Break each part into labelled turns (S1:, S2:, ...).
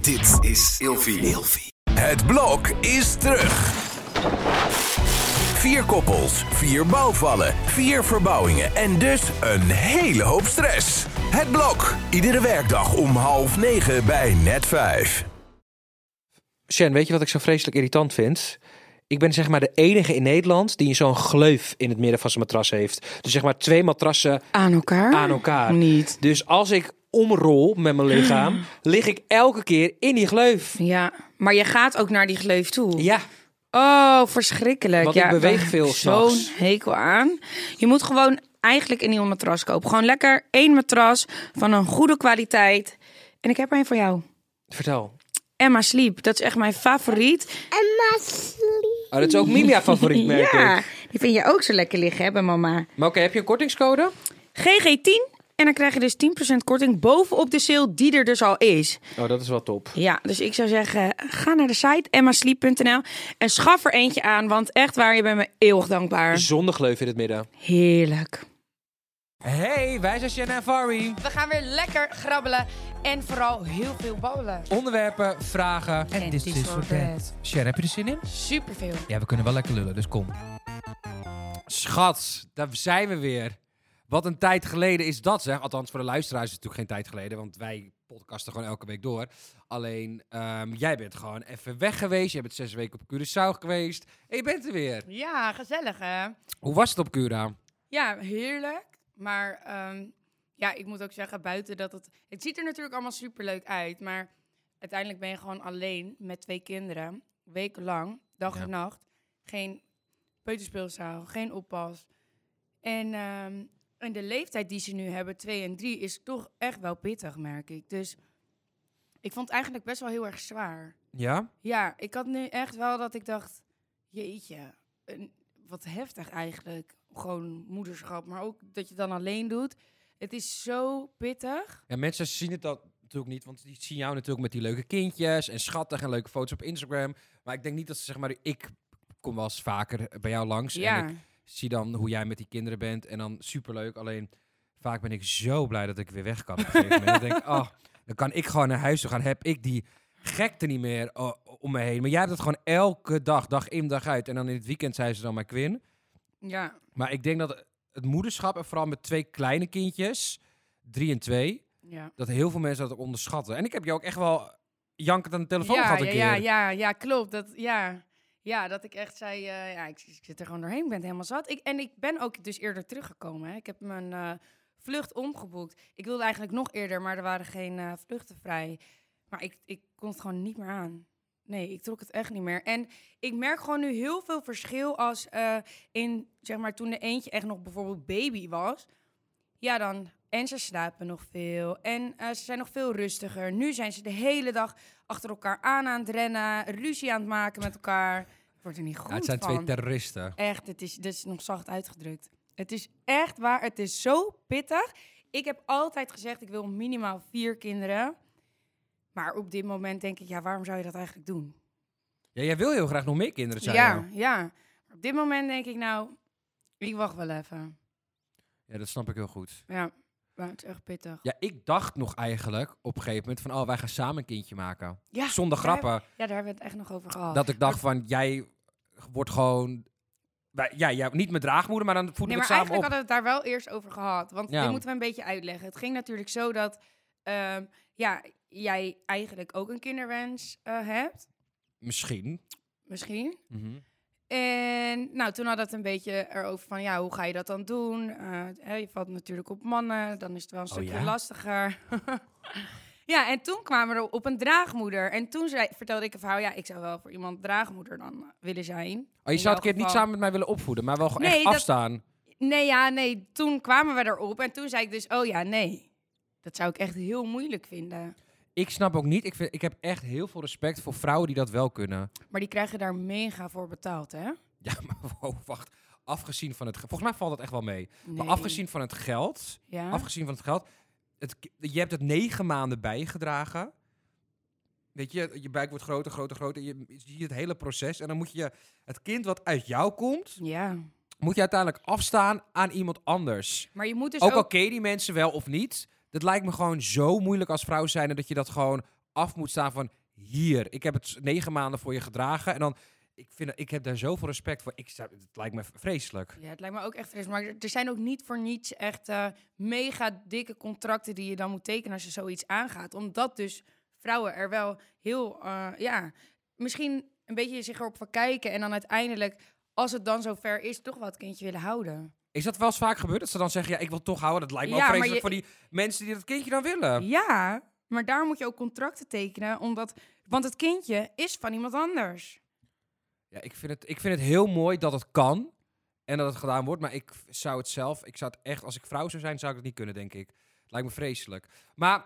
S1: Dit is Ilfie. Het blok is terug. Vier koppels, vier bouwvallen, vier verbouwingen en dus een hele hoop stress. Het blok, iedere werkdag om half negen bij net vijf.
S2: Shen, weet je wat ik zo vreselijk irritant vind? Ik ben zeg maar de enige in Nederland die zo'n gleuf in het midden van zijn matras heeft. Dus zeg maar twee matrassen
S3: Aan elkaar?
S4: Ah,
S2: aan elkaar.
S3: Niet.
S2: Dus als ik omrol met mijn lichaam, lig ik elke keer in die gleuf.
S3: Ja, maar je gaat ook naar die gleuf toe.
S2: Ja,
S3: Oh, verschrikkelijk.
S2: Want
S3: ja,
S2: ik beweeg
S3: daar heb
S2: veel
S3: ik Zo'n
S2: s'nachts.
S3: hekel aan. Je moet gewoon eigenlijk een nieuw matras kopen. Gewoon lekker één matras van een goede kwaliteit. En ik heb er een voor jou.
S2: vertel.
S3: Emma Sleep, dat is echt mijn favoriet.
S5: Emma Sleep.
S2: Oh, dat is ook Milia favoriet, merk
S3: ja,
S2: ik.
S3: die vind je ook zo lekker liggen hebben, mama.
S2: Maar oké, heb je een kortingscode?
S3: GG10. En dan krijg je dus 10% korting bovenop de sale die er dus al is.
S2: Oh, dat is wel top.
S3: Ja, dus ik zou zeggen, ga naar de site emmasleep.nl en schaf er eentje aan. Want echt waar, je bent me eeuwig dankbaar.
S2: Zonder gleuf in het midden.
S3: Heerlijk.
S2: Hey, wij zijn Shen en Fari.
S4: We gaan weer lekker grabbelen en vooral heel veel babbelen.
S6: Onderwerpen, vragen.
S4: En dit is voor bed.
S6: Sher, heb je er zin in?
S4: Superveel.
S6: Ja, we kunnen wel lekker lullen, dus kom. Schat, daar zijn we weer. Wat een tijd geleden is dat, zeg. Althans, voor de luisteraars is het natuurlijk geen tijd geleden, want wij podcasten gewoon elke week door. Alleen, ehm, jij bent gewoon even weg geweest. Je bent zes weken op Curaçao geweest. En je bent er weer.
S4: Ja, gezellig hè?
S6: Hoe was het op Cura?
S4: Ja, heerlijk. Maar ehm, ja, ik moet ook zeggen, buiten dat het... Het ziet er natuurlijk allemaal superleuk uit, maar uiteindelijk ben je gewoon alleen met twee kinderen. Wekenlang, dag
S6: Ja.
S4: en nacht. Geen peuterspeelzaal, geen oppas. En, ehm, en de leeftijd die ze nu hebben, twee en drie, is toch echt wel pittig, merk ik. Dus ik vond het eigenlijk best wel heel erg zwaar.
S6: Ja?
S4: Ja, ik had nu echt wel dat ik dacht, jeetje, een- wat heftig eigenlijk. Gewoon moederschap, maar ook dat je dan alleen doet. Het is zo pittig.
S6: Ja, mensen zien het dat natuurlijk niet, want die zien jou natuurlijk met die leuke kindjes en schattig en leuke foto's op Instagram. Maar ik denk niet dat ze, zeg maar, ik kom wel eens vaker bij jou langs en
S4: Ja,
S6: ik zie dan hoe jij met die kinderen bent en dan superleuk. Alleen vaak ben ik zo blij dat ik weer weg kan op een gegeven moment. Dan denk ik, oh, dan kan ik gewoon naar huis toe gaan, heb ik die gekte niet meer oh, om me heen. Maar jij hebt het gewoon elke dag, dag in, dag uit. En dan in het weekend zijn ze dan maar Quinn.
S4: ja,
S6: Maar ik denk dat het moederschap, en vooral met twee kleine kindjes, drie en twee
S4: ja.
S6: dat heel veel mensen dat ook onderschatten. En ik heb je ook echt wel jankend aan de telefoon
S4: Ja,
S6: gehad een
S4: ja,
S6: keer.
S4: ja, ja, ja, klopt. Dat, ja. ja, dat ik echt zei, eh, ja, ik, ik zit er gewoon doorheen, ik ben het helemaal zat. Ik, en ik ben ook dus eerder teruggekomen. Hè. Ik heb mijn eh, vlucht omgeboekt. Ik wilde eigenlijk nog eerder, maar er waren geen eh, vluchten vrij. Maar ik, ik kon het gewoon niet meer aan. Nee, ik trok het echt niet meer. En ik merk gewoon nu heel veel verschil als eh, in, zeg maar, toen de eentje echt nog bijvoorbeeld baby was. Ja, dan. En ze slapen nog veel. En eh, ze zijn nog veel rustiger. Nu zijn ze de hele dag achter elkaar aan aan het rennen. Ruzie aan het maken met elkaar. Ik word er niet goed
S6: Ja, het zijn
S4: van.
S6: twee terroristen.
S4: Echt, het is, dit is nog zacht uitgedrukt. Het is echt waar, het is zo pittig. Ik heb altijd gezegd, ik wil minimaal vier kinderen. Maar op dit moment denk ik, ja, waarom zou je dat eigenlijk doen?
S6: Ja, jij wil heel graag nog meer kinderen zijn.
S4: ja, ja. Op dit moment denk ik, nou, ik wacht wel even.
S6: ja, dat snap ik heel goed.
S4: Ja, maar het is echt pittig.
S6: Ja, ik dacht nog eigenlijk op een gegeven moment van, oh, wij gaan samen een kindje maken.
S4: Ja,
S6: Zonder
S4: Ah, daar heb-
S6: grappen.
S4: Ja, daar hebben we het echt nog over gehad.
S6: Dat ik dacht van, jij wordt gewoon... Wij- Ja, ja, niet mijn draagmoeder, maar dan voeden
S4: Nee,
S6: we
S4: maar
S6: het samen
S4: eigenlijk
S6: op.
S4: hadden we het daar wel eerst over gehad. Want
S6: Ja.
S4: dit moeten we een beetje uitleggen. Het ging natuurlijk zo dat ehm, ja, jij eigenlijk ook een kinderwens eh, hebt.
S6: Misschien.
S4: Misschien.
S6: Mhm.
S4: En nou, toen hadden we het een beetje erover van, ja, hoe ga je dat dan doen? Eh, hè, je valt natuurlijk op mannen, dan is het wel een
S6: Oh,
S4: stukje
S6: ja?
S4: lastiger. ja, en toen kwamen we op een draagmoeder. En toen zei, vertelde ik een verhaal, ja, ik zou wel voor iemand draagmoeder dan eh, willen zijn.
S6: Oh, je zou
S4: In jouw
S6: het kind niet
S4: geval.
S6: samen met mij willen opvoeden, maar wel gewoon
S4: Nee,
S6: echt
S4: dat-
S6: afstaan.
S4: Nee, ja, nee, toen kwamen we erop en toen zei ik dus, oh ja, nee. Dat zou ik echt heel moeilijk vinden.
S6: Ik snap ook niet, ik, vind, ik heb echt heel veel respect voor vrouwen die dat wel kunnen.
S4: Maar die krijgen daar mega voor betaald, hè?
S6: Ja, maar wow, wacht. Afgezien van het... ge- Volgens mij valt dat echt wel mee.
S4: Nee.
S6: Maar afgezien van het geld,
S4: Ja?
S6: afgezien van het geld, het, ki- je hebt het negen maanden bijgedragen. Weet je, je buik wordt groter, groter, groter. Je je ziet het hele proces. En dan moet je het kind wat uit jou komt,
S4: Ja.
S6: moet je uiteindelijk afstaan aan iemand anders.
S4: Maar je moet dus
S6: ook
S4: ook...
S6: al ken je die mensen wel of niet, dat lijkt me gewoon zo moeilijk als vrouw zijn dat je dat gewoon af moet staan van hier. Ik heb het s- negen maanden voor je gedragen. En dan, ik, vind, dat- ik heb daar zoveel respect voor. Ik, zou- het lijkt me vreselijk.
S4: Ja, het lijkt me ook echt fris. Maar er er zijn ook niet voor niets echt eh, mega dikke contracten die je dan moet tekenen als je zoiets aangaat. Omdat dus vrouwen er wel heel, eh, ja, misschien een beetje zich erop verkijken. En dan uiteindelijk, als het dan zover is, toch wat kindje willen houden.
S6: Is dat wel eens vaak gebeurd? Dat ze dan zeggen, ja, ik wil toch houden. Dat lijkt me
S4: Ja,
S6: ook
S4: maar
S6: vreselijk
S4: je-
S6: voor die mensen die dat kindje dan willen.
S4: Ja, maar daar moet je ook contracten tekenen. Omdat, want het kindje is van iemand anders.
S6: Ja, ik vind, het, ik vind het heel mooi dat het kan en dat het gedaan wordt. Maar ik v- zou het zelf, ik zou het echt, als ik vrouw zou zijn, zou ik het niet kunnen, denk ik. Lijkt me vreselijk. Maar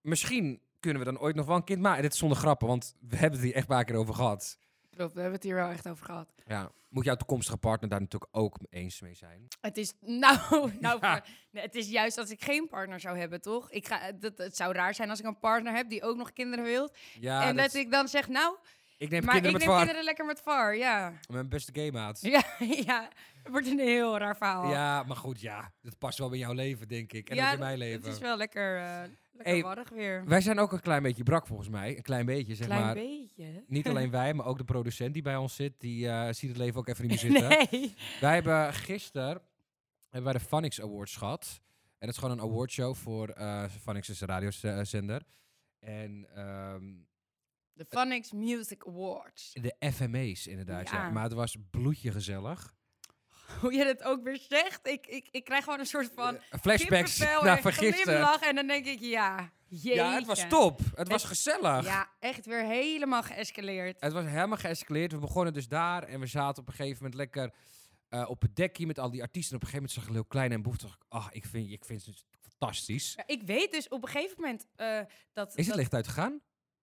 S6: misschien kunnen we dan ooit nog wel een kind maken. En dit is zonder grappen, want we hebben het hier echt een paar keer over gehad.
S4: Klopt, we hebben het hier wel echt over gehad.
S6: Ja, moet jouw toekomstige partner daar natuurlijk ook eens mee zijn.
S4: Het is, nou, nou
S6: Ja.
S4: nee, het is juist als ik geen partner zou hebben, toch? Ik ga, eh, dat, het zou raar zijn als ik een partner heb die ook nog kinderen wil.
S6: Ja,
S4: en
S6: Ah, dat-
S4: dat ik dan zeg, nou,
S6: ik neem
S4: maar
S6: kinderen
S4: ik neem
S6: met vaar.
S4: kinderen lekker met VAR, ja.
S6: Mijn beste gay maat.
S4: Ja, ja, het wordt een heel raar verhaal.
S6: Ja, maar goed, ja. Dat past wel bij jouw leven, denk ik. En
S4: Ja,
S6: ook in mijn leven.
S4: het is wel lekker, eh lekker
S6: Hey,
S4: warrig weer.
S6: Wij zijn ook een klein beetje brak, volgens mij. Een klein beetje, zeg
S4: Klein
S6: maar.
S4: beetje.
S6: Niet alleen wij, maar ook de producent die bij ons zit, die eh, ziet het leven ook even niet meer zitten.
S4: Nee.
S6: Wij hebben gisteren hebben wij de Phonics Awards gehad. En dat is gewoon een awardshow voor eh Phonics is een radiozender. En ehm,
S4: De Phonics Music Awards.
S6: de FMA's inderdaad, ja.
S4: Ja.
S6: Maar het was bloedje gezellig.
S4: Hoe je dat ook weer zegt, ik, ik, ik krijg gewoon een soort van
S6: Eh, Flashbacks
S4: kippenvel
S6: naar
S4: en een
S6: vergisteren.
S4: glimlach. En dan denk ik, ja, jeetje.
S6: Ja, het was top. Het was gezellig.
S4: Ja, echt weer helemaal geëscaleerd.
S6: Het was helemaal geëscaleerd. We begonnen dus daar en we zaten op een gegeven moment lekker eh, op het dekje met al die artiesten. En op een gegeven moment zag ik heel klein en boef. Ach, ik vind, ik vind het fantastisch.
S4: Ja, ik weet dus op een gegeven moment eh, dat...
S6: Is het
S4: dat-
S6: licht uitgegaan?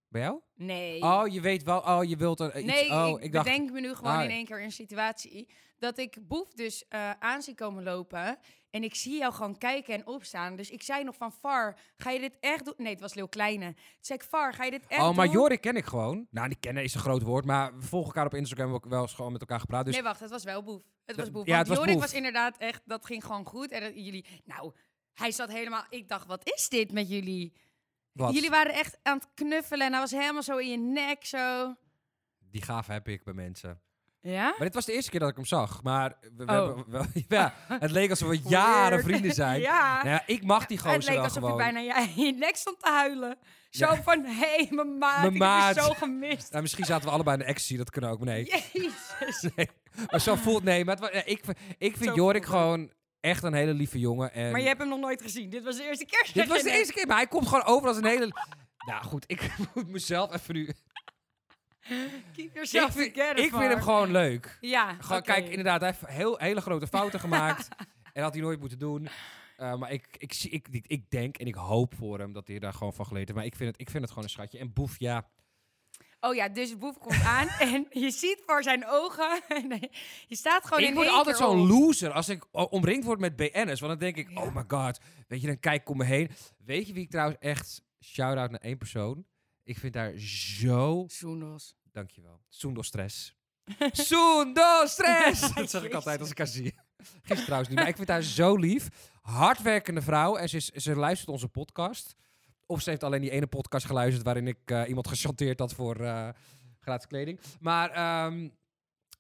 S6: Bij jou?
S4: Nee.
S6: Oh, je weet wel. Oh, je wilt er eh, iets.
S4: nee,
S6: oh,
S4: ik, bedenk me nu gewoon
S6: Ah,
S4: in
S6: ja.
S4: één keer een situatie dat ik Boef dus eh, aan zie komen lopen. En ik zie jou gewoon kijken en opstaan. Dus ik zei nog van, Far, ga je dit echt doen? Nee, het was Leeuw Kleine. Toen zei ik, Far, ga je dit echt
S6: oh, maar
S4: doen?
S6: Jorik ken ik gewoon. Nou, die kennen is een groot woord, maar we volgen elkaar op Instagram. We hebben ook wel eens gewoon met elkaar gepraat. Dus
S4: Nee, wacht, het was wel Boef. Het was
S6: Dat-
S4: Boef.
S6: ja,
S4: want
S6: het was
S4: Jorik
S6: Boef.
S4: was inderdaad echt, dat ging gewoon goed. En dat jullie, nou, hij zat helemaal, ik dacht, wat is dit met jullie?
S6: wat?
S4: Jullie waren echt aan het knuffelen en hij was helemaal zo in je nek, zo.
S6: Die gave heb ik bij mensen.
S4: Ja?
S6: Maar dit was de eerste keer dat ik hem zag. Maar we, we
S4: Oh.
S6: hebben wel, ja, het leek alsof we jaren vrienden zijn.
S4: Ja.
S6: Nou ja, ik mag die gozer
S4: het leek
S6: wel
S4: alsof
S6: gewoon.
S4: je bijna je, in je nek stond te huilen. Zo van, hé, hey, mijn maat,
S6: Mijn
S4: ik heb
S6: maat.
S4: je zo gemist.
S6: Nou, misschien zaten we allebei in de ecstasy, dat kunnen ook. Maar nee,
S4: Jezus.
S6: nee. Maar zo voelt... Nee, maar het wa- ja, ik, vind- ik vind
S4: Zo
S6: Jorik
S4: voelt het.
S6: gewoon echt een hele lieve jongen. En
S4: Maar je hebt hem nog nooit gezien. Dit was de eerste keer. zeg
S6: Dit was
S4: je
S6: de
S4: net.
S6: eerste keer, maar hij komt gewoon over als een hele... Nou goed, ik moet mezelf even nu...
S4: Keep yourself
S6: ik vind,
S4: together,
S6: ik vind hem
S4: Var.
S6: gewoon leuk.
S4: Ja,
S6: Gewoon,
S4: oké.
S6: Kijk, inderdaad, hij heeft heel, hele grote fouten gemaakt. en had hij nooit moeten doen. Eh, maar ik, ik, zie- ik, ik, ik denk en ik hoop voor hem dat hij daar gewoon van geleerd heeft. Maar ik vind het, ik vind het gewoon een schatje. En Boef, ja.
S4: Oh ja, dus Boef komt aan en je ziet voor zijn ogen. en je staat gewoon in
S6: ik word
S4: één
S6: altijd
S4: keer
S6: zo'n
S4: op.
S6: loser als ik o- omringd word met BN'ers. Want dan denk ik, oh my god. Weet je, dan kijk ik om me heen. Weet je wie ik trouwens echt... Shout-out naar één persoon. Ik vind daar zo...
S4: Zoendos.
S6: Dankjewel. Soendo stress. Soendo stress! Dat zeg ik altijd als ik haar zie. Gisteren trouwens niet, maar ik vind haar zo lief. Hardwerkende vrouw. En ze, is- ze luistert onze podcast. Of ze heeft alleen die ene podcast geluisterd waarin ik eh, iemand gechanteerd had voor eh, gratis kleding. Maar ehm,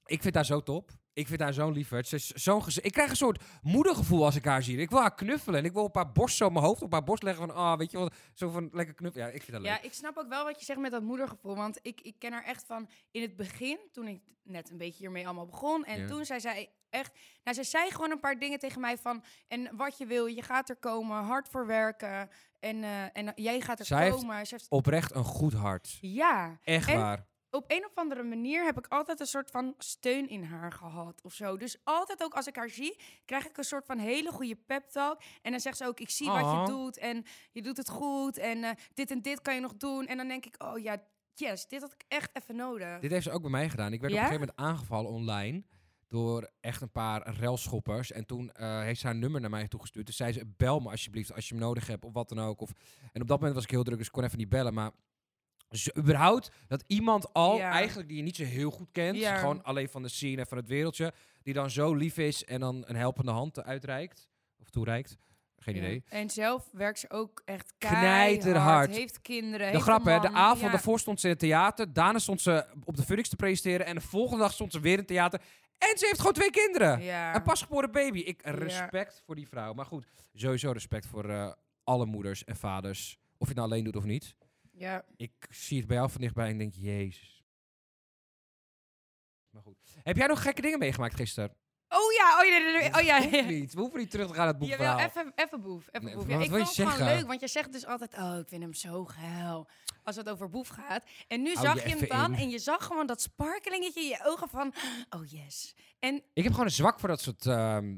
S6: ik vind haar zo top. Ik vind haar zo'n lieverd. Ze is zo'n gez- ik krijg een soort moedergevoel als ik haar zie. Ik wil haar knuffelen. En ik wil op haar borst zo mijn hoofd op haar borst leggen. Van, ah, weet je wel, zo van lekker knuffelen. Ja, ik vind haar leuk.
S4: Ja, ik snap ook wel wat je zegt met dat moedergevoel. Want ik, ik ken haar echt van in het begin, toen ik net een beetje hiermee allemaal begon. En
S6: Ja.
S4: toen zei zij echt... Nou, ze zei gewoon een paar dingen tegen mij van... En wat je wil, je gaat er komen, hard voor werken. En, eh, en jij gaat er
S6: Zij heeft-
S4: komen. Ze heeft-
S6: Oprecht een goed hart.
S4: ja,
S6: Echt
S4: En-
S6: waar.
S4: op een of andere manier heb ik altijd een soort van steun in haar gehad of zo. Dus altijd ook als ik haar zie, krijg ik een soort van hele goede pep talk. En dan zegt ze ook, ik zie
S6: Aw.
S4: wat je doet en je doet het goed en eh, dit en dit kan je nog doen. En dan denk ik, oh ja, yes, dit had ik echt even nodig.
S6: Dit heeft ze ook bij mij gedaan. Ik werd op
S4: Ja?
S6: een gegeven moment aangevallen online door echt een paar relschoppers. En toen eh, heeft ze haar nummer naar mij toegestuurd. Dus zei ze, bel me alsjeblieft als je me nodig hebt of wat dan ook. Of... En op dat moment was ik heel druk, dus ik kon even niet bellen. Maar dus überhaupt dat iemand al
S4: Ja.
S6: eigenlijk die je niet zo heel goed kent...
S4: Ja.
S6: gewoon alleen van de scene en van het wereldje... die dan zo lief is en dan een helpende hand uitreikt of toereikt... Geen idee.
S4: En zelf werkt ze ook echt
S6: Knijterhard.
S4: keihard. Heeft kinderen.
S6: De
S4: heeft
S6: grap,
S4: een
S6: hè? De
S4: man,
S6: avond
S4: ja.
S6: daarvoor stond ze in het theater. Daarna stond ze op de Phoenix te presenteren. En de volgende dag stond ze weer in het theater. En ze heeft gewoon twee kinderen.
S4: Ja.
S6: Een pasgeboren baby. Ik respect voor die vrouw. Maar goed, sowieso respect voor eh, alle moeders en vaders. Of je het nou alleen doet of niet.
S4: Ja.
S6: Ik zie het bij jou van dichtbij en ik denk, jezus. Maar goed. Heb jij nog gekke dingen meegemaakt gisteren?
S4: Oh ja, oh ja, nee, nee, nee, oh ja.
S6: Hoeft niet. We hoeven niet terug te gaan naar het boekverhaal.
S4: Jawel, even, even boef. Even
S6: Nee,
S4: boef.
S6: maar
S4: Ja,
S6: wat
S4: ik
S6: wil je
S4: vond het gewoon
S6: zeggen?
S4: leuk, want je zegt dus altijd... Oh, ik vind hem zo geil. Als het over boef gaat. En nu
S6: Hou
S4: zag
S6: je
S4: je hem
S6: even
S4: dan
S6: in.
S4: en je zag gewoon dat sparkelingetje in je ogen van... Oh yes. En
S6: Ik heb gewoon een zwak voor dat soort ehm,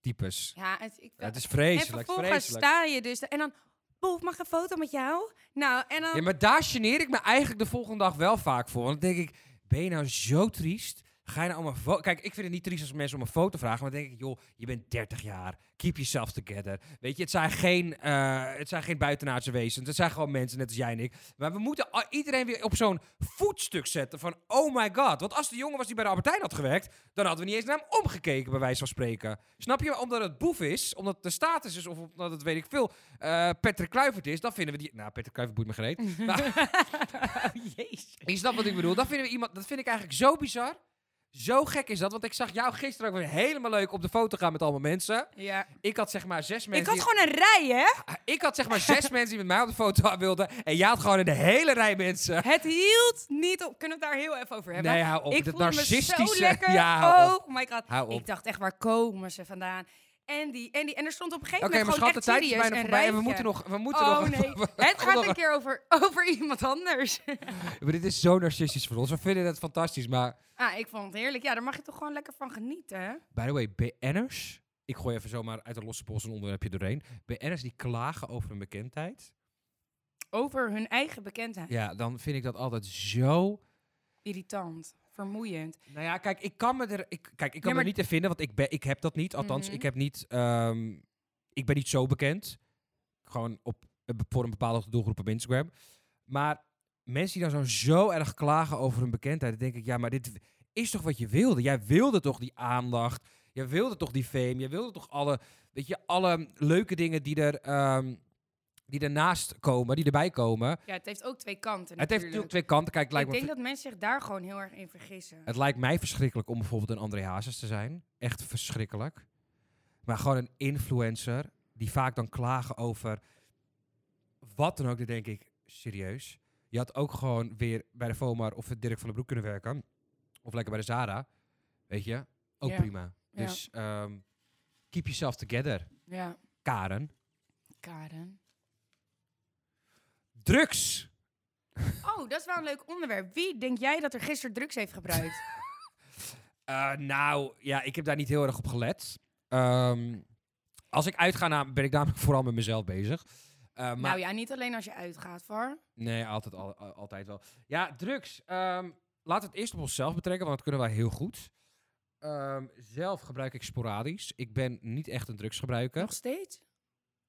S6: types.
S4: ja, het, ik,
S6: Ja, het is
S4: en
S6: vreselijk.
S4: vervolgens
S6: vreselijk.
S4: sta je dus... da- En dan... Boef, mag ik een foto met jou? Nou, en dan...
S6: Ja, maar daar geneer ik me eigenlijk de volgende dag wel vaak voor. Want dan denk ik, ben je nou zo triest? Ga je nou om een foto... Kijk, ik vind het niet triest als mensen om een foto vragen. Maar dan denk ik, joh, je bent 30 jaar. Keep yourself together. Weet je, het zijn geen, eh, het zijn geen buitenaardse wezens. Het zijn gewoon mensen, net als jij en ik. Maar we moeten a- iedereen weer op zo'n voetstuk zetten van... Oh my god. Want als de jongen was die bij de Albert Heijn had gewerkt... dan hadden we niet eens naar hem omgekeken, bij wijze van spreken. Snap je? Omdat het boef is, omdat het de status is... of omdat het, weet ik veel, eh Patrick Kluivert is... dan vinden we die... Nou, Patrick Kluivert boeit me gereed.
S4: Jezus.
S6: Je snapt wat ik bedoel. Dat, vinden we iemand, dat vind ik eigenlijk zo bizar. Zo gek is dat. Want ik zag jou gisteren ook weer helemaal leuk op de foto gaan met allemaal mensen.
S4: Ja.
S6: Ik had zeg maar zes
S4: Ik
S6: mensen.
S4: had
S6: die-
S4: gewoon een rij, hè?
S6: ik had zeg maar zes mensen die met mij op de foto wilden. En jij had gewoon een hele rij mensen.
S4: Het hield niet op. Kunnen we het daar heel even over hebben?
S6: Nee, hou op.
S4: Ik
S6: Dat
S4: voelde me
S6: narcistische-
S4: zo lekker.
S6: Ja, hou
S4: oh my god.
S6: Hou op.
S4: Ik dacht echt, waar komen ze vandaan? En die, en die. En er stond op een
S6: Oké,
S4: gegeven
S6: maar
S4: moment
S6: schat,
S4: gewoon
S6: de
S4: echt
S6: tijd is
S4: serieus
S6: bijna
S4: een
S6: voorbij. En we moeten
S4: rijtje.
S6: nog... We moeten
S4: Oh
S6: nog
S4: nee,
S6: we- we-
S4: het gaat een
S6: nog-
S4: keer over, over iemand anders.
S6: Maar dit is zo narcistisch voor ons. We vinden het fantastisch. Maar,
S4: ah, ik vond het heerlijk. Ja, daar mag je toch gewoon lekker van genieten, hè?
S6: by the way, BN'ers... Ik gooi even zomaar uit de losse pols een onderwerpje doorheen. BN'ers die klagen over hun bekendheid.
S4: Over hun eigen bekendheid.
S6: Ja, dan vind ik dat altijd zo...
S4: Irritant, vermoeiend.
S6: Nou ja, kijk, ik kan me er, ik, kijk, ik kan
S4: Ja, maar-
S6: me er niet in vinden, want ik, ben, ik heb dat niet. Althans,
S4: Mhm.
S6: ik, heb niet, ehm, ik ben niet zo bekend. Gewoon op, eh, be- voor een bepaalde doelgroep op Instagram. Maar mensen die dan zo, zo erg klagen over hun bekendheid, dan denk ik, ja, maar dit w- is toch wat je wilde? Jij wilde toch die aandacht? Jij wilde toch die fame? Jij wilde toch alle, weet je, alle leuke dingen die er... ehm, die ernaast komen, die erbij komen.
S4: Ja, het heeft ook twee kanten
S6: Het heeft
S4: natuurlijk.
S6: natuurlijk twee kanten. Kijk, het lijkt
S4: ik
S6: me
S4: denk dat mensen zich daar gewoon heel erg in vergissen.
S6: het lijkt mij verschrikkelijk om bijvoorbeeld een André Hazes te zijn. Echt verschrikkelijk. Maar gewoon een influencer die vaak dan klagen over wat dan ook. Dan denk ik, serieus. Je had ook gewoon weer bij de Vomar of Dirk van den Broek kunnen werken. Of lekker bij de Zara. Weet je, ook
S4: Ja.
S6: prima.
S4: Ja.
S6: Dus ehm, keep yourself together,
S4: Ja,
S6: Karen.
S4: Karen.
S6: Drugs!
S4: Oh, dat is wel een leuk onderwerp. Wie denk jij dat er gisteren drugs heeft gebruikt?
S6: Eh, nou, ja, ik heb daar niet heel erg op gelet. Ehm, als ik uitga, nou, ben ik namelijk vooral met mezelf bezig. Eh, maar
S4: Nou ja, niet alleen als je uitgaat, voor.
S6: Nee, altijd, al, al- altijd wel. Ja, drugs. ehm, laten we het eerst op onszelf betrekken, want dat kunnen wij heel goed. Ehm, zelf gebruik ik sporadisch. Ik ben niet echt een drugsgebruiker.
S4: Nog steeds?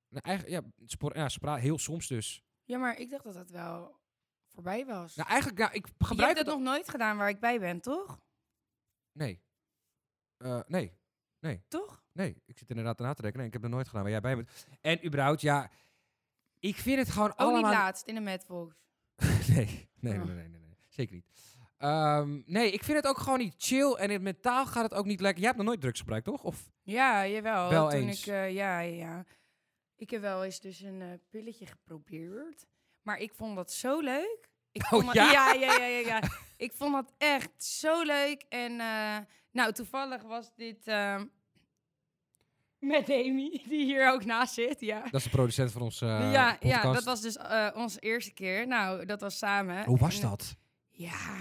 S6: Nou, eigenlijk, ja, spor, ja spora- heel soms dus.
S4: Ja, maar ik dacht dat dat wel voorbij was.
S6: Nou, eigenlijk, nou, ik
S4: je
S6: gebruik
S4: hebt
S6: het
S4: dat
S6: nog.
S4: nog nooit gedaan waar ik bij ben, toch?
S6: Nee. Eh, nee,
S4: Toch? Oh,
S6: nee. Ik zit inderdaad na te denken. Nee, ik heb dat nooit gedaan waar jij bij bent. En überhaupt, ja. Ik vind het gewoon
S4: Ook niet
S6: allemaal
S4: laatst in de Madbox.
S6: nee, nee, nee,
S4: Oh.
S6: nee, nee, nee, nee. Zeker niet. Ehm, nee, ik vind het ook gewoon niet chill. En in mentaal gaat het ook niet lekker. Jij hebt nog nooit drugs gebruikt, toch? Of
S4: Ja, jawel.
S6: Wel
S4: Toen
S6: eens.
S4: ik, eh, ja, ja. Ik heb wel eens dus een eh, pilletje geprobeerd. Maar ik vond dat zo leuk. Ik vond dat-
S6: Oh, ja?
S4: ja, ja, ja, ja, ja. Ik vond dat echt zo leuk. En eh, nou, toevallig was dit ehm, met Amy, die hier ook naast zit, ja.
S6: dat is de producent van ons eh
S4: ja,
S6: podcast.
S4: ja, dat was dus eh, onze eerste keer. Nou, dat was samen.
S6: Hoe was
S4: En-
S6: dat?
S4: Ja,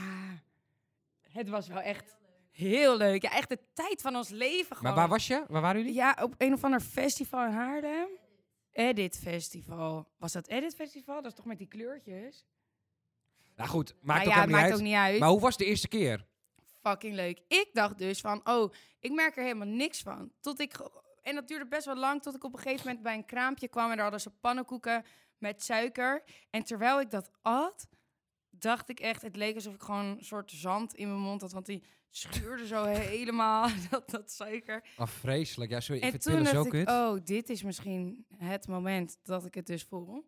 S4: het was wel echt heel leuk. Ja, echt de tijd van ons leven gewoon.
S6: Maar waar was je? Waar waren jullie?
S4: Ja, op een of ander festival in Haarlem. Edit Festival. Was dat Edit Festival? Dat is toch met die kleurtjes?
S6: Nou goed, maakt
S4: Nou
S6: ook helemaal
S4: ja, het
S6: niet
S4: maakt
S6: uit.
S4: ook niet uit.
S6: Maar hoe was de eerste keer?
S4: Fucking leuk. Ik dacht dus van, oh, ik merk er helemaal niks van. Tot ik... ge- En dat duurde best wel lang tot ik op een gegeven moment bij een kraampje kwam. En daar hadden ze pannenkoeken met suiker. En terwijl ik dat at, dacht ik echt, het leek alsof ik gewoon een soort zand in mijn mond had. Want die schuurde zo helemaal, dat, dat suiker.
S6: Ah, vreselijk. Ja, sorry, ik
S4: En
S6: vind
S4: toen
S6: pillen zo
S4: dacht ik,
S6: kut.
S4: oh, dit is misschien het moment dat ik het dus voel.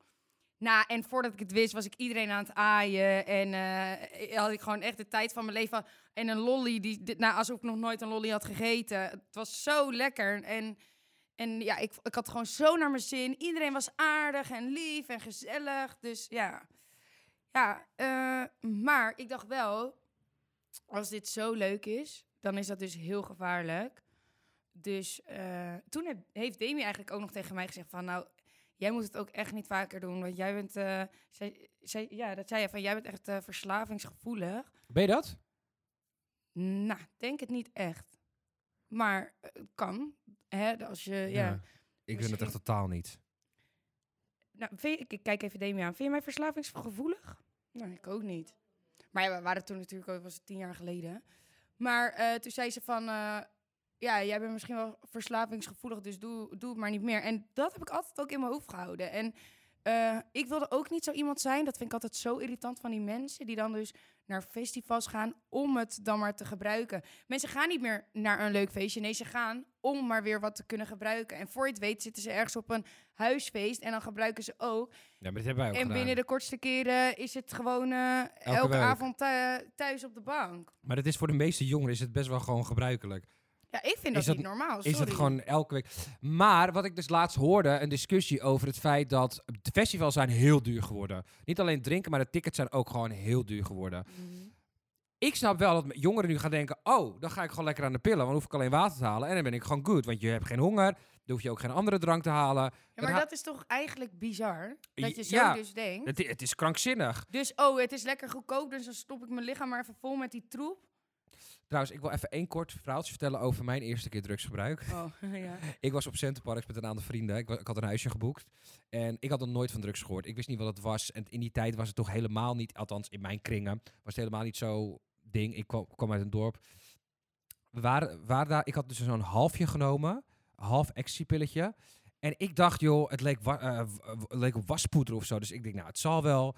S4: Nou, en voordat ik het wist, was ik iedereen aan het aaien. En eh, had ik gewoon echt de tijd van mijn leven. En een lolly, die, dit, nou, alsof ik nog nooit een lolly had gegeten. Het was zo lekker. En, en ja, ik, ik had gewoon zo naar mijn zin. Iedereen was aardig en lief en gezellig. Dus ja, ja eh, maar ik dacht wel, als dit zo leuk is, dan is dat dus heel gevaarlijk. Dus eh, toen heb- heeft Demi eigenlijk ook nog tegen mij gezegd van... nou, jij moet het ook echt niet vaker doen, want jij bent... eh, zij, zij- ja, dat zei hij van, jij bent echt eh, verslavingsgevoelig.
S6: Ben je dat?
S4: Nou, denk het niet echt. Maar eh, het kan, hè, als je... Ja.
S6: Ik vind het echt
S4: Misschien-
S6: totaal niet.
S4: Nou, vind je- ik kijk even Demi aan. Vind je mij verslavingsgevoelig? Nou, ik ook niet. Maar ja, we waren toen natuurlijk ook, was het tien jaar geleden. Maar eh, toen zei ze van, eh, ja, jij bent misschien wel verslavingsgevoelig, dus doe, doe het maar niet meer. En dat heb ik altijd ook in mijn hoofd gehouden. En eh, ik wilde ook niet zo iemand zijn, dat vind ik altijd zo irritant van die mensen, die dan dus naar festivals gaan om het dan maar te gebruiken. Mensen gaan niet meer naar een leuk feestje, nee, ze gaan om maar weer wat te kunnen gebruiken. En voor je het weet zitten ze ergens op een huisfeest en dan gebruiken ze ook
S6: Ja, maar dit hebben wij ook
S4: en
S6: gedaan.
S4: binnen de kortste keren is het gewoon eh, elke,
S6: week.
S4: avond thu- thuis op de bank.
S6: Maar dat is voor de meeste jongeren is het best wel gewoon gebruikelijk.
S4: Ja, ik vind dat,
S6: Is dat-
S4: niet normaal.
S6: Is dat
S4: Oh, sorry.
S6: gewoon elke week. Maar wat ik dus laatst hoorde, een discussie over het feit dat de festivals zijn heel duur geworden. Niet alleen drinken, maar de tickets zijn ook gewoon heel duur geworden.
S4: Mhm.
S6: Ik snap wel dat jongeren nu gaan denken, oh, dan ga ik gewoon lekker aan de pillen, want dan hoef ik alleen water te halen en dan ben ik gewoon goed. Want je hebt geen honger, dan hoef je ook geen andere drank te halen.
S4: Ja, maar
S6: ha-
S4: dat is toch eigenlijk bizar? Dat je zo
S6: Ja.
S4: dus denkt.
S6: het, i- het is krankzinnig.
S4: Dus, oh, het is lekker goedkoop, dus dan stop ik mijn lichaam maar even vol met die troep.
S6: Trouwens, ik wil even één kort verhaaltje vertellen over mijn eerste keer drugsgebruik.
S4: Oh, ja.
S6: Ik was op Centerparks met een aantal vrienden. Ik, wa- ik had een huisje geboekt. En ik had nog nooit van drugs gehoord. Ik wist niet wat het was. En in die tijd was het toch helemaal niet, althans in mijn kringen, was het helemaal niet zo ding. Ik kwam, kwam uit een dorp. We waren, waren daar, ik had dus zo'n halfje genomen, half ecstasypilletje. En ik dacht, joh, het leek, wa- eh, w- eh, w- leek op waspoeder of zo. Dus ik denk, nou, het zal wel.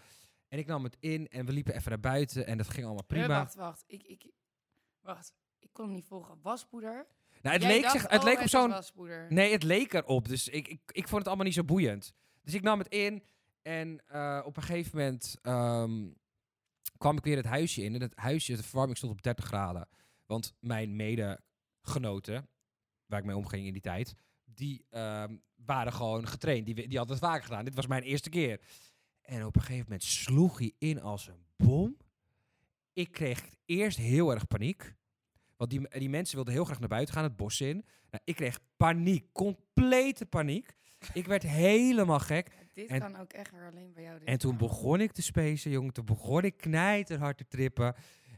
S6: En ik nam het in en we liepen even naar buiten en dat ging allemaal prima.
S4: Eh, wacht, wacht. Ik, ik, wacht. Ik kon hem niet volgen. Waspoeder?
S6: nou, het
S4: Jij
S6: leek,
S4: dacht,
S6: zeg, het
S4: oh,
S6: leek op
S4: is
S6: zo'n
S4: waspoeder.
S6: Nee, het leek erop. Dus ik, ik, ik vond het allemaal niet zo boeiend. Dus ik nam het in. En eh, op een gegeven moment ehm, kwam ik weer het huisje in. En het huisje, de verwarming stond op 30 graden. Want mijn medegenoten, waar ik mee omging in die tijd, die ehm, waren gewoon getraind. Die, we- die hadden het vaker gedaan. Dit was mijn eerste keer. En op een gegeven moment sloeg hij in als een bom. Ik kreeg eerst heel erg paniek. Want die, die mensen wilden heel graag naar buiten gaan, het bos in. Nou, ik kreeg paniek, complete paniek. Ik werd helemaal gek.
S4: Dit
S6: en-
S4: kan ook echt weer alleen bij jou. dit
S6: En toen
S4: verhaal.
S6: begon ik te spacen, jongen. Toen begon ik knijterhard te trippen.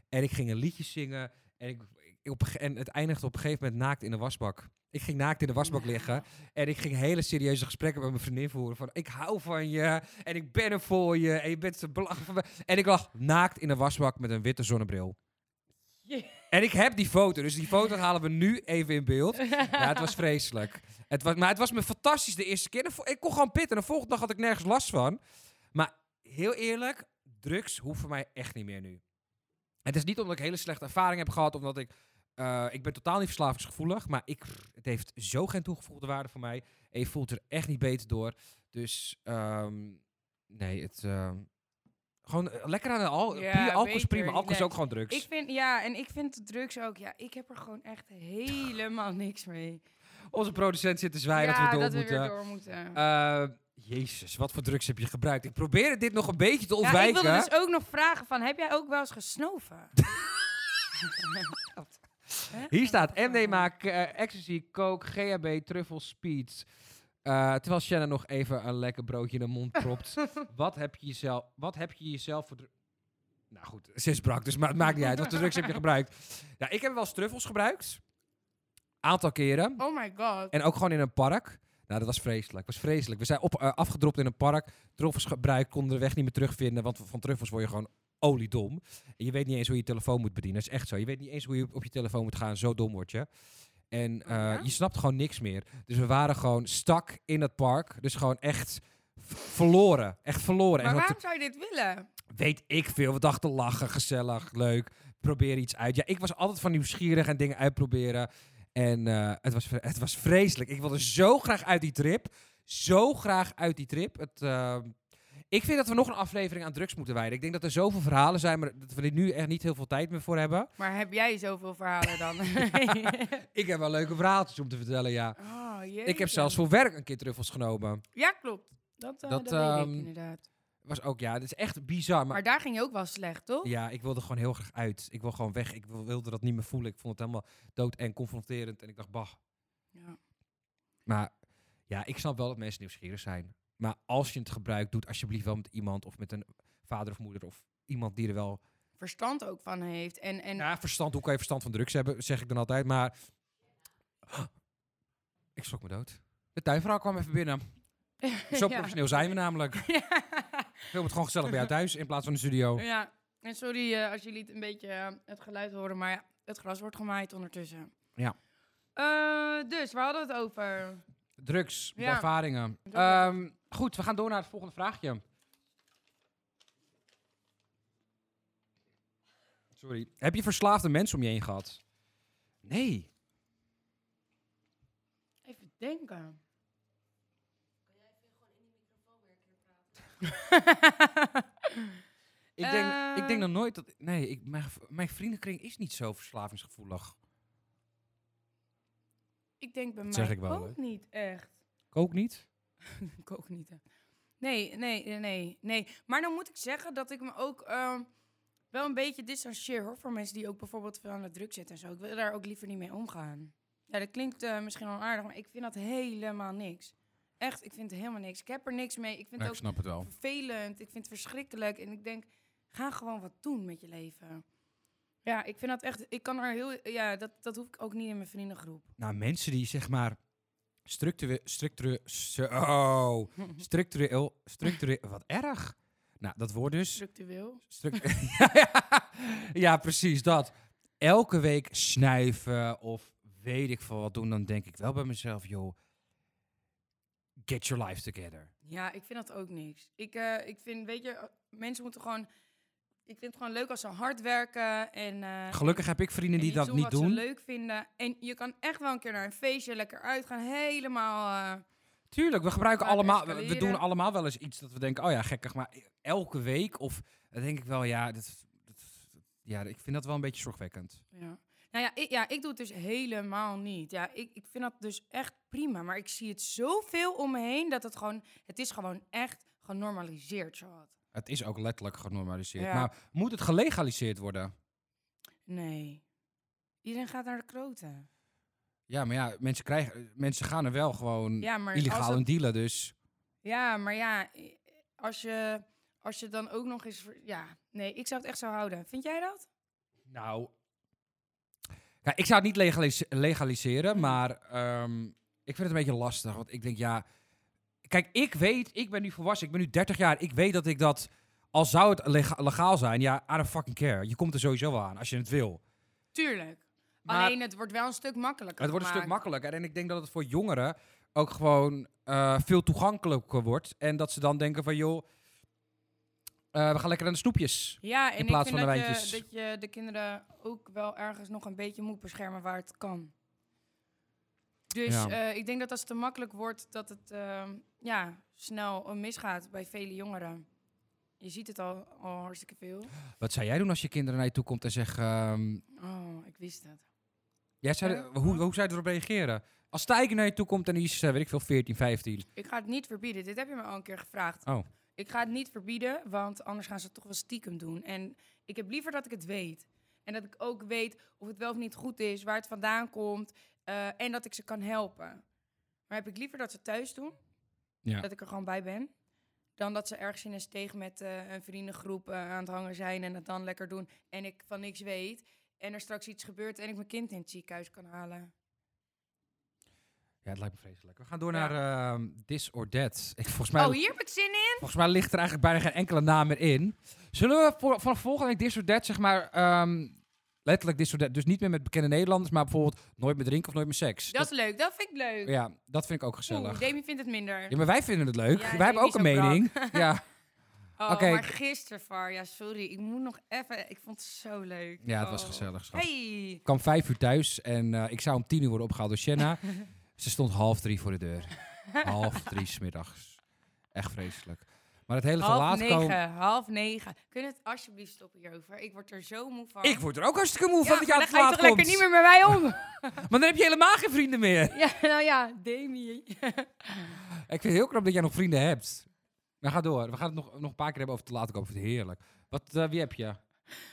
S6: En ik ging een liedje zingen. En, ik, ik- op, een ge- en het eindigde op een gegeven moment naakt in de wasbak. Ik ging naakt in de wasbak liggen. En ik ging hele serieuze gesprekken met mijn vriendin voeren. Van, ik hou van je. En ik ben er voor je. En je bent zo belachelijk van me. En ik lag naakt in de wasbak met een witte zonnebril. En ik heb die foto. Dus die foto halen we nu even in beeld. Ja, het was vreselijk. Het was, maar het was me fantastisch de eerste keer. En vo- Ik kon gewoon pitten. En de volgende dag had ik nergens last van. Maar heel eerlijk, drugs hoeft voor mij echt niet meer nu. Het is niet omdat ik hele slechte ervaring heb gehad, omdat ik... eh, ik ben totaal niet verslavingsgevoelig, maar ik, het heeft zo geen toegevoegde waarde voor mij. En je voelt er echt niet beter door. Dus ehm, nee, het... ehm, gewoon eh, lekker aan de al
S4: Ja,
S6: puur alcohol is
S4: beter,
S6: prima. Alcohol is ook
S4: relax.
S6: gewoon drugs.
S4: Ik vind, ja, en ik vind drugs ook. Ja, ik heb er gewoon echt helemaal niks mee.
S6: Onze producent zit te zwijgen
S4: ja,
S6: dat we door
S4: dat we
S6: moeten.
S4: weer door moeten.
S6: Eh, jezus, wat voor drugs heb je gebruikt? Ik probeerde dit nog een beetje te
S4: Ja, ik
S6: ontwijken.
S4: wilde dus ook nog vragen van, heb jij ook wel eens gesnoven?
S6: Hier staat
S4: Oh.
S6: MD maak eh, ecstasy, coke, GHB, truffel, speed. Eh, terwijl Shanna nog even een lekker broodje in de mond propt. wat, heb je jezelf, wat heb je jezelf voor... dru- Nou goed, ze is brak, dus ma het maakt niet uit. Wat voor drugs heb je gebruikt? Nou, ik heb wel eens truffels gebruikt. Aantal keren.
S4: Oh my god.
S6: En ook gewoon in een park. Nou, dat was vreselijk. was vreselijk. We zijn op, eh, afgedropt in een park. Truffels gebruikt, konden de weg niet meer terugvinden. Want van truffels word je gewoon oliedom. En je weet niet eens hoe je je telefoon moet bedienen. Dat is echt zo. Je weet niet eens hoe je op je telefoon moet gaan. Zo dom word je. En eh,
S4: Oh, ja?
S6: je snapt gewoon niks meer. Dus we waren gewoon stak in dat park. Dus gewoon echt v- verloren. Echt verloren. En
S4: Maar
S6: gewoon te-
S4: waarom zou je dit willen?
S6: Weet ik veel. We dachten lachen, gezellig, leuk. Probeer iets uit. Ja, ik was altijd van nieuwsgierig en dingen uitproberen. En eh, het, was, vre- het was vreselijk. Ik wilde zo graag uit die trip. Zo graag uit die trip. Het, eh, ik vind dat we nog een aflevering aan drugs moeten wijden. Ik denk dat er zoveel verhalen zijn, maar dat we er nu echt niet heel veel tijd meer voor hebben.
S4: Maar heb jij zoveel verhalen dan?
S6: Ik heb wel leuke verhaaltjes om te vertellen, ja.
S4: oh,
S6: Ik
S4: jeetje.
S6: heb zelfs voor werk een keer truffels genomen.
S4: Ja, klopt. Dat, eh,
S6: Dat,
S4: dat, weet
S6: ehm,
S4: ik inderdaad.
S6: Was ook, ja, het is echt bizar. Maar
S4: Maar daar ging je ook wel slecht, toch?
S6: Ja, ik wilde gewoon heel graag uit. Ik wil gewoon weg. Ik wil- wilde dat niet meer voelen. Ik vond het helemaal dood en confronterend. En ik dacht, bah.
S4: Ja.
S6: Maar ja, ik snap wel dat mensen nieuwsgierig zijn. Maar als je het gebruikt, doe het alsjeblieft wel met iemand of met een vader of moeder of iemand die er wel
S4: Verstand ook van heeft. En, en
S6: ja, verstand. Hoe kan je verstand van drugs hebben? Zeg ik dan altijd. Maar ik schrok me dood. De tuinvrouw kwam even binnen. Zo
S4: Ja.
S6: professioneel zijn we namelijk. Film het gewoon gezellig bij jou thuis in plaats van de studio.
S4: Ja, en sorry eh, als jullie het een beetje eh, het geluid horen, maar ja, het gras wordt gemaaid ondertussen.
S6: Ja.
S4: Eh, dus, waar hadden we het over?
S6: Drugs,
S4: Ja.
S6: ervaringen. Ehm, goed, we gaan door naar het volgende vraagje. Sorry. Heb je verslaafde mensen om je heen gehad? Nee.
S4: Even denken.
S6: Ik denk, ik denk
S4: Ehm.
S6: dan nooit dat... Nee, ik, mijn, gev- mijn vriendenkring is niet zo verslavingsgevoelig.
S4: Ik denk bij
S6: Dat
S4: mij
S6: zeg ik wel,
S4: ook niet echt.
S6: Ik ook niet.
S4: Ik ook niet. hè. Nee, nee, nee, nee, nee. Maar dan moet ik zeggen dat ik me ook ehm, wel een beetje distancieer hoor. Voor mensen die ook bijvoorbeeld veel aan de druk zitten en zo. Ik wil daar ook liever niet mee omgaan. Ja, dat klinkt eh, misschien onaardig, maar ik vind dat helemaal niks. Echt, ik vind helemaal niks. Ik heb er niks mee. Ik vind het ook
S6: snap het wel.
S4: vervelend. Ik vind het verschrikkelijk. En ik denk, ga gewoon wat doen met je leven. Ja, ik vind dat echt. Ik kan er heel. Ja, dat, dat hoef ik ook niet in mijn vriendengroep.
S6: Nou, mensen die zeg maar structureel, structureel, oh, structureel, structureel, wat erg. Nou, dat woord dus.
S4: Structureel.
S6: Struct- ja, ja. ja, precies dat. Elke week snuiven of weet ik veel wat doen, dan denk ik wel bij mezelf, joh, get your life together.
S4: Ja, ik vind dat ook niks. Ik, eh, ik vind, weet je, eh, mensen moeten gewoon. Ik vind het gewoon leuk als ze hard werken en. eh,
S6: Gelukkig heb ik vrienden
S4: en
S6: die
S4: iets
S6: dat niet
S4: wat ze
S6: doen.
S4: leuk vinden. En je kan echt wel een keer naar een feestje lekker uitgaan. Helemaal. eh,
S6: Tuurlijk, we gebruiken
S4: Laten
S6: allemaal, we- we doen
S4: escaleren.
S6: allemaal wel eens iets dat we denken, oh ja, gekkig, maar elke week of dan denk ik wel, ja, dat, dat, ja, ik vind dat wel een beetje zorgwekkend.
S4: ja. Nou ja ik, ja, ik doe het dus helemaal niet. Ja, ik, ik vind dat dus echt prima. Maar ik zie het zoveel om me heen dat het gewoon. Het is gewoon echt genormaliseerd, zo wat.
S6: Het is ook letterlijk genormaliseerd.
S4: Ja.
S6: Maar moet het gelegaliseerd worden?
S4: Nee. Iedereen gaat naar de kroten.
S6: Ja, maar ja, mensen, krijgen, mensen gaan er wel gewoon
S4: Ja, maar als
S6: illegaal
S4: het-
S6: in dealen, dus...
S4: Ja, maar ja, i- als je, als je dan ook nog eens... ver- Ja, nee, ik zou het echt zo houden. Vind jij dat?
S6: Nou. Kijk, ik zou het niet legalis- legaliseren, maar ehm, ik vind het een beetje lastig. Want ik denk, ja. Kijk, ik weet, ik ben nu volwassen, ik ben nu 30 jaar. Ik weet dat ik dat. Al zou het lega- legaal zijn, ja, I don't fucking care. Je komt er sowieso wel aan als je het wil.
S4: Tuurlijk.
S6: Maar-
S4: Alleen het wordt wel een stuk makkelijker
S6: Het wordt een stuk
S4: gemaakt.
S6: makkelijker. En ik denk dat het voor jongeren ook gewoon eh, veel toegankelijker wordt. En dat ze dan denken van, joh, eh, we gaan lekker aan de snoepjes.
S4: Ja, en
S6: in plaats
S4: ik vind
S6: van de
S4: dat,
S6: wijntjes.
S4: je, dat je de kinderen ook wel ergens nog een beetje moet beschermen waar het kan. Dus
S6: Ja.
S4: eh, ik denk dat als het te makkelijk wordt, dat het eh, ja, snel eh, misgaat bij vele jongeren. Je ziet het al, al hartstikke veel.
S6: Wat zou jij doen als je kinderen naar je toe komt en zegt, ehm,
S4: Oh, ik wist het.
S6: Jij zou,
S4: Ja.
S6: hoe, hoe zou je erop reageren? Als Tijger naar je toe komt en die is, eh, weet ik veel, 14, 15.
S4: Ik ga het niet verbieden. Dit heb je me al een keer gevraagd.
S6: Oh.
S4: Ik ga het niet verbieden, want anders gaan ze het toch wel stiekem doen. En ik heb liever dat ik het weet. En dat ik ook weet of het wel of niet goed is, waar het vandaan komt. eh, en dat ik ze kan helpen. Maar heb ik liever dat ze thuis doen,
S6: Ja.
S4: dat ik er gewoon bij ben, dan dat ze ergens in een steeg met eh, een vriendengroep eh, aan het hangen zijn en het dan lekker doen. En ik van niks weet. En er straks iets gebeurt en ik mijn kind in het ziekenhuis kan halen.
S6: Ja, het lijkt me vreselijk. We gaan door
S4: Ja.
S6: naar ehm This or That. Ik, volgens, mij,
S4: Oh, hier heb ik zin in!
S6: volgens mij ligt er eigenlijk bijna geen enkele naam meer in. Zullen we voor, vanaf volgende week This or That, zeg maar, ehm, letterlijk This or That. Dus niet meer met bekende Nederlanders, maar bijvoorbeeld nooit meer drinken of nooit meer seks.
S4: Dat is leuk, dat vind ik leuk.
S6: ja, dat vind ik ook gezellig.
S4: Oeh, Demi vindt het minder.
S6: ja, maar wij vinden het leuk.
S4: Ja,
S6: wij hebben
S4: Jamie
S6: ook
S4: is
S6: een
S4: ook
S6: mening. ja.
S4: Oh,
S6: Oké.
S4: maar gisteren, Far, ja, sorry. Ik moet nog even... Ik vond het zo leuk.
S6: Ja, het was
S4: Oh.
S6: gezellig, schat.
S4: Hey!
S6: Ik kwam vijf uur thuis en eh, ik zou om tien uur worden opgehaald door Shenna. Ze stond half drie voor de deur. half drie smiddags. Echt vreselijk. Maar het hele te
S4: Half
S6: laat
S4: negen,
S6: komen...
S4: half negen. Kunnen we het alsjeblieft stoppen hierover? Ik word er zo moe van.
S6: Ik word er ook hartstikke moe
S4: ja,
S6: van dat je aan
S4: dan
S6: het
S4: ga je
S6: laat
S4: toch
S6: komt.
S4: lekker niet meer met mij om?
S6: Maar dan heb je helemaal geen vrienden meer.
S4: ja, nou ja, Demi.
S6: Ik vind het heel knap dat jij nog vrienden hebt. Maar ga door. We gaan het nog, nog een paar keer hebben over te laat komen. Ik vind het heerlijk. Wat, eh, wie heb je?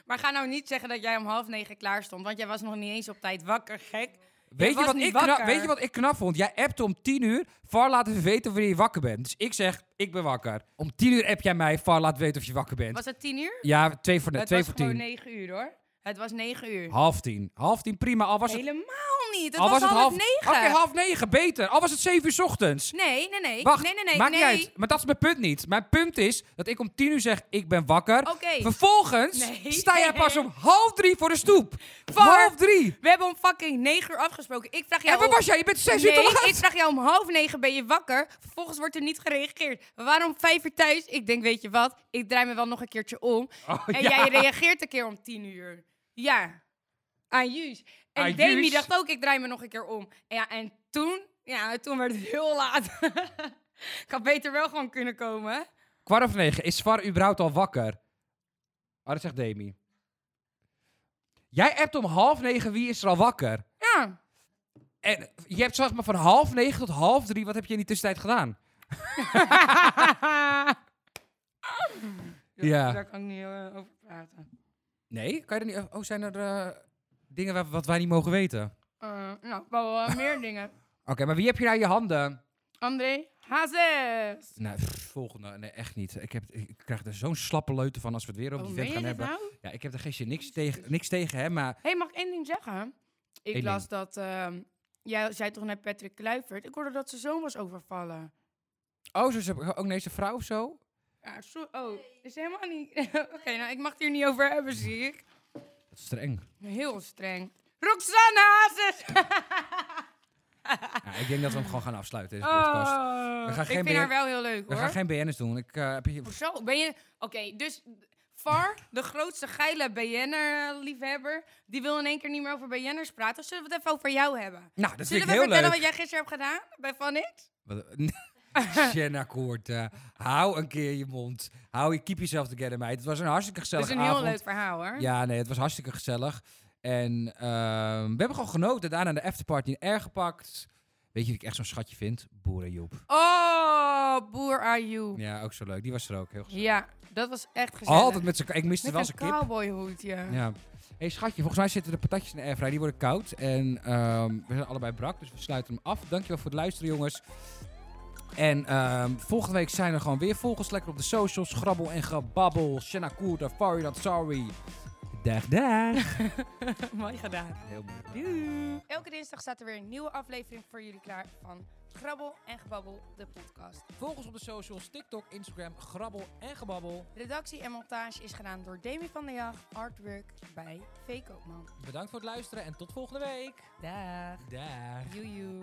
S4: Maar ga nou niet zeggen dat jij om half negen klaar stond. Want jij was nog niet eens op tijd wakker, gek.
S6: Weet je,
S4: was
S6: wat
S4: niet
S6: ik knap,
S4: wakker.
S6: weet je wat ik knap vond? Jij appte om 10 uur. Var laat even weten wanneer je wakker bent. Dus ik zeg, ik ben wakker. Om 10 uur app jij mij. Var laat weten of je wakker bent.
S4: Was het tien uur?
S6: Ja, twee voor,
S4: het
S6: twee
S4: was
S6: voor
S4: gewoon
S6: tien.
S4: negen uur, hoor. Het was negen uur.
S6: Half tien. Half tien, prima. Al was het,
S4: Helemaal niet. Het
S6: al
S4: was,
S6: was het
S4: half,
S6: half
S4: negen.
S6: Oké, half negen, beter. Al was het zeven uur 's ochtends.
S4: Nee, nee, nee.
S6: Wacht,
S4: nee, nee, nee.
S6: maakt
S4: nee.
S6: niet uit. Maar dat is mijn punt niet. Mijn punt is dat ik om tien uur zeg, ik ben wakker.
S4: Oké.
S6: Vervolgens
S4: Nee.
S6: sta jij pas om half drie voor de stoep.
S4: Var.
S6: Half drie.
S4: We hebben om fucking negen uur afgesproken. Ik vraag jou
S6: en waar
S4: om-
S6: was jij? Je bent zes uur
S4: Nee,
S6: te laat.
S4: ik vraag jou om half negen ben je wakker. Vervolgens wordt er niet gereageerd. Waarom vijf uur thuis? Ik denk, weet je wat? Ik draai me wel nog een keertje om. en
S6: Oh, ja.
S4: jij reageert een keer om tien uur. Ja. Aan juus. En
S6: Aan
S4: Demi
S6: juus.
S4: dacht ook, ik draai me nog een keer om. En ja, en toen? Ja, toen werd het heel laat. ik had beter wel gewoon kunnen komen.
S6: Kwart over negen. Is Svar überhaupt al wakker? Ah, dat zegt Demi. Jij appt om half negen. Wie is er al wakker?
S4: Ja.
S6: En je hebt zeg maar van half negen tot half drie. Wat heb je in die tussentijd gedaan? ja.
S4: Daar kan ik niet eh, over praten.
S6: Nee, kan je er niet... Oh, zijn er eh, dingen waar- wat wij niet mogen weten? Oké,
S4: Eh, nou, wel eh, meer dingen.
S6: maar wie heb je nou in je handen?
S4: André Hazes.
S6: Nou, pff, volgende. Nee, echt niet. Ik, heb, ik krijg er zo'n slappe leuten van als we het weer over
S4: Oh,
S6: die
S4: meen
S6: vent
S4: je
S6: gaan
S4: dit
S6: hebben.
S4: nou?
S6: Ja, ik heb er geen zin- niks tegen, niks tegen hem, maar...
S4: Hé, hey, mag ik één ding zeggen? Ik
S6: Eén
S4: las dat... ehm, jij zei toch net Patrick Kluivert? Ik hoorde dat zijn zoon was overvallen.
S6: Oh, zo, zo, ook nee, zijn vrouw of zo?
S4: Ja, zo, oh, is helemaal niet... Oké, nou, ik mag het hier niet over hebben, zie ik.
S6: Dat is streng.
S4: Heel streng. Roxanne Hazes!
S6: Ja, ik denk dat we hem gewoon gaan afsluiten, deze podcast.
S4: Oh,
S6: We gaan
S4: ik
S6: geen
S4: vind
S6: meer-
S4: haar wel heel leuk,
S6: We
S4: hoor.
S6: gaan geen BN'ers doen. Ik eh, heb hier...
S4: Hoezo? Ben je... Oké, dus... Far, de grootste geile BN'er-liefhebber... die wil in één keer niet meer over BN'ers praten. Zullen we het even over jou hebben?
S6: Nou, dat
S4: Zullen
S6: vind
S4: we
S6: ik heel
S4: vertellen
S6: leuk.
S4: wat jij gisteren hebt gedaan bij Van X?
S6: Wat- Jenna Koorta, eh, hou een keer je mond. Hou je, keep yourself together, meid. Het was een hartstikke
S4: Dat
S6: gezellig
S4: is een
S6: avond.
S4: heel leuk verhaal, hoor.
S6: Ja, nee, het was hartstikke gezellig. En ehm, we hebben gewoon genoten. Daarna de afterparty in R gepakt. Weet je wie ik echt zo'n schatje vind? Boerenjoep.
S4: Oh, boer Ayoub. Ja.
S6: Ja, ook zo leuk. Die was er ook heel gezellig.
S4: dat was echt gezellig.
S6: Altijd met zijn... Ik miste
S4: Met
S6: wel
S4: een
S6: zijn kip.
S4: cowboyhoedje.
S6: Ja. hey, schatje, volgens mij zitten de patatjes in de airfryer. Die worden koud. En ehm, we zijn allebei brak, dus we sluiten hem af. Dankjewel voor het luisteren, jongens. En ehm, volgende week zijn we er gewoon weer. Volg ons lekker op de socials. Grabbel en gebabbel. Shanna Koerda, Farid Sorry. Dag, dag.
S4: Mooi gedaan.
S6: Heel mooi.
S4: Elke dinsdag staat er weer een nieuwe aflevering voor jullie klaar van Grabbel en Gebabbel, de podcast.
S6: Volg ons op de socials. TikTok, Instagram, Grabbel en gebabbel.
S4: Redactie en montage is gedaan door Demi van der Jag, artwork bij V. Koopman.
S6: Bedankt voor het luisteren en tot volgende week.
S4: Dag.
S6: Dag.
S4: Joejoe.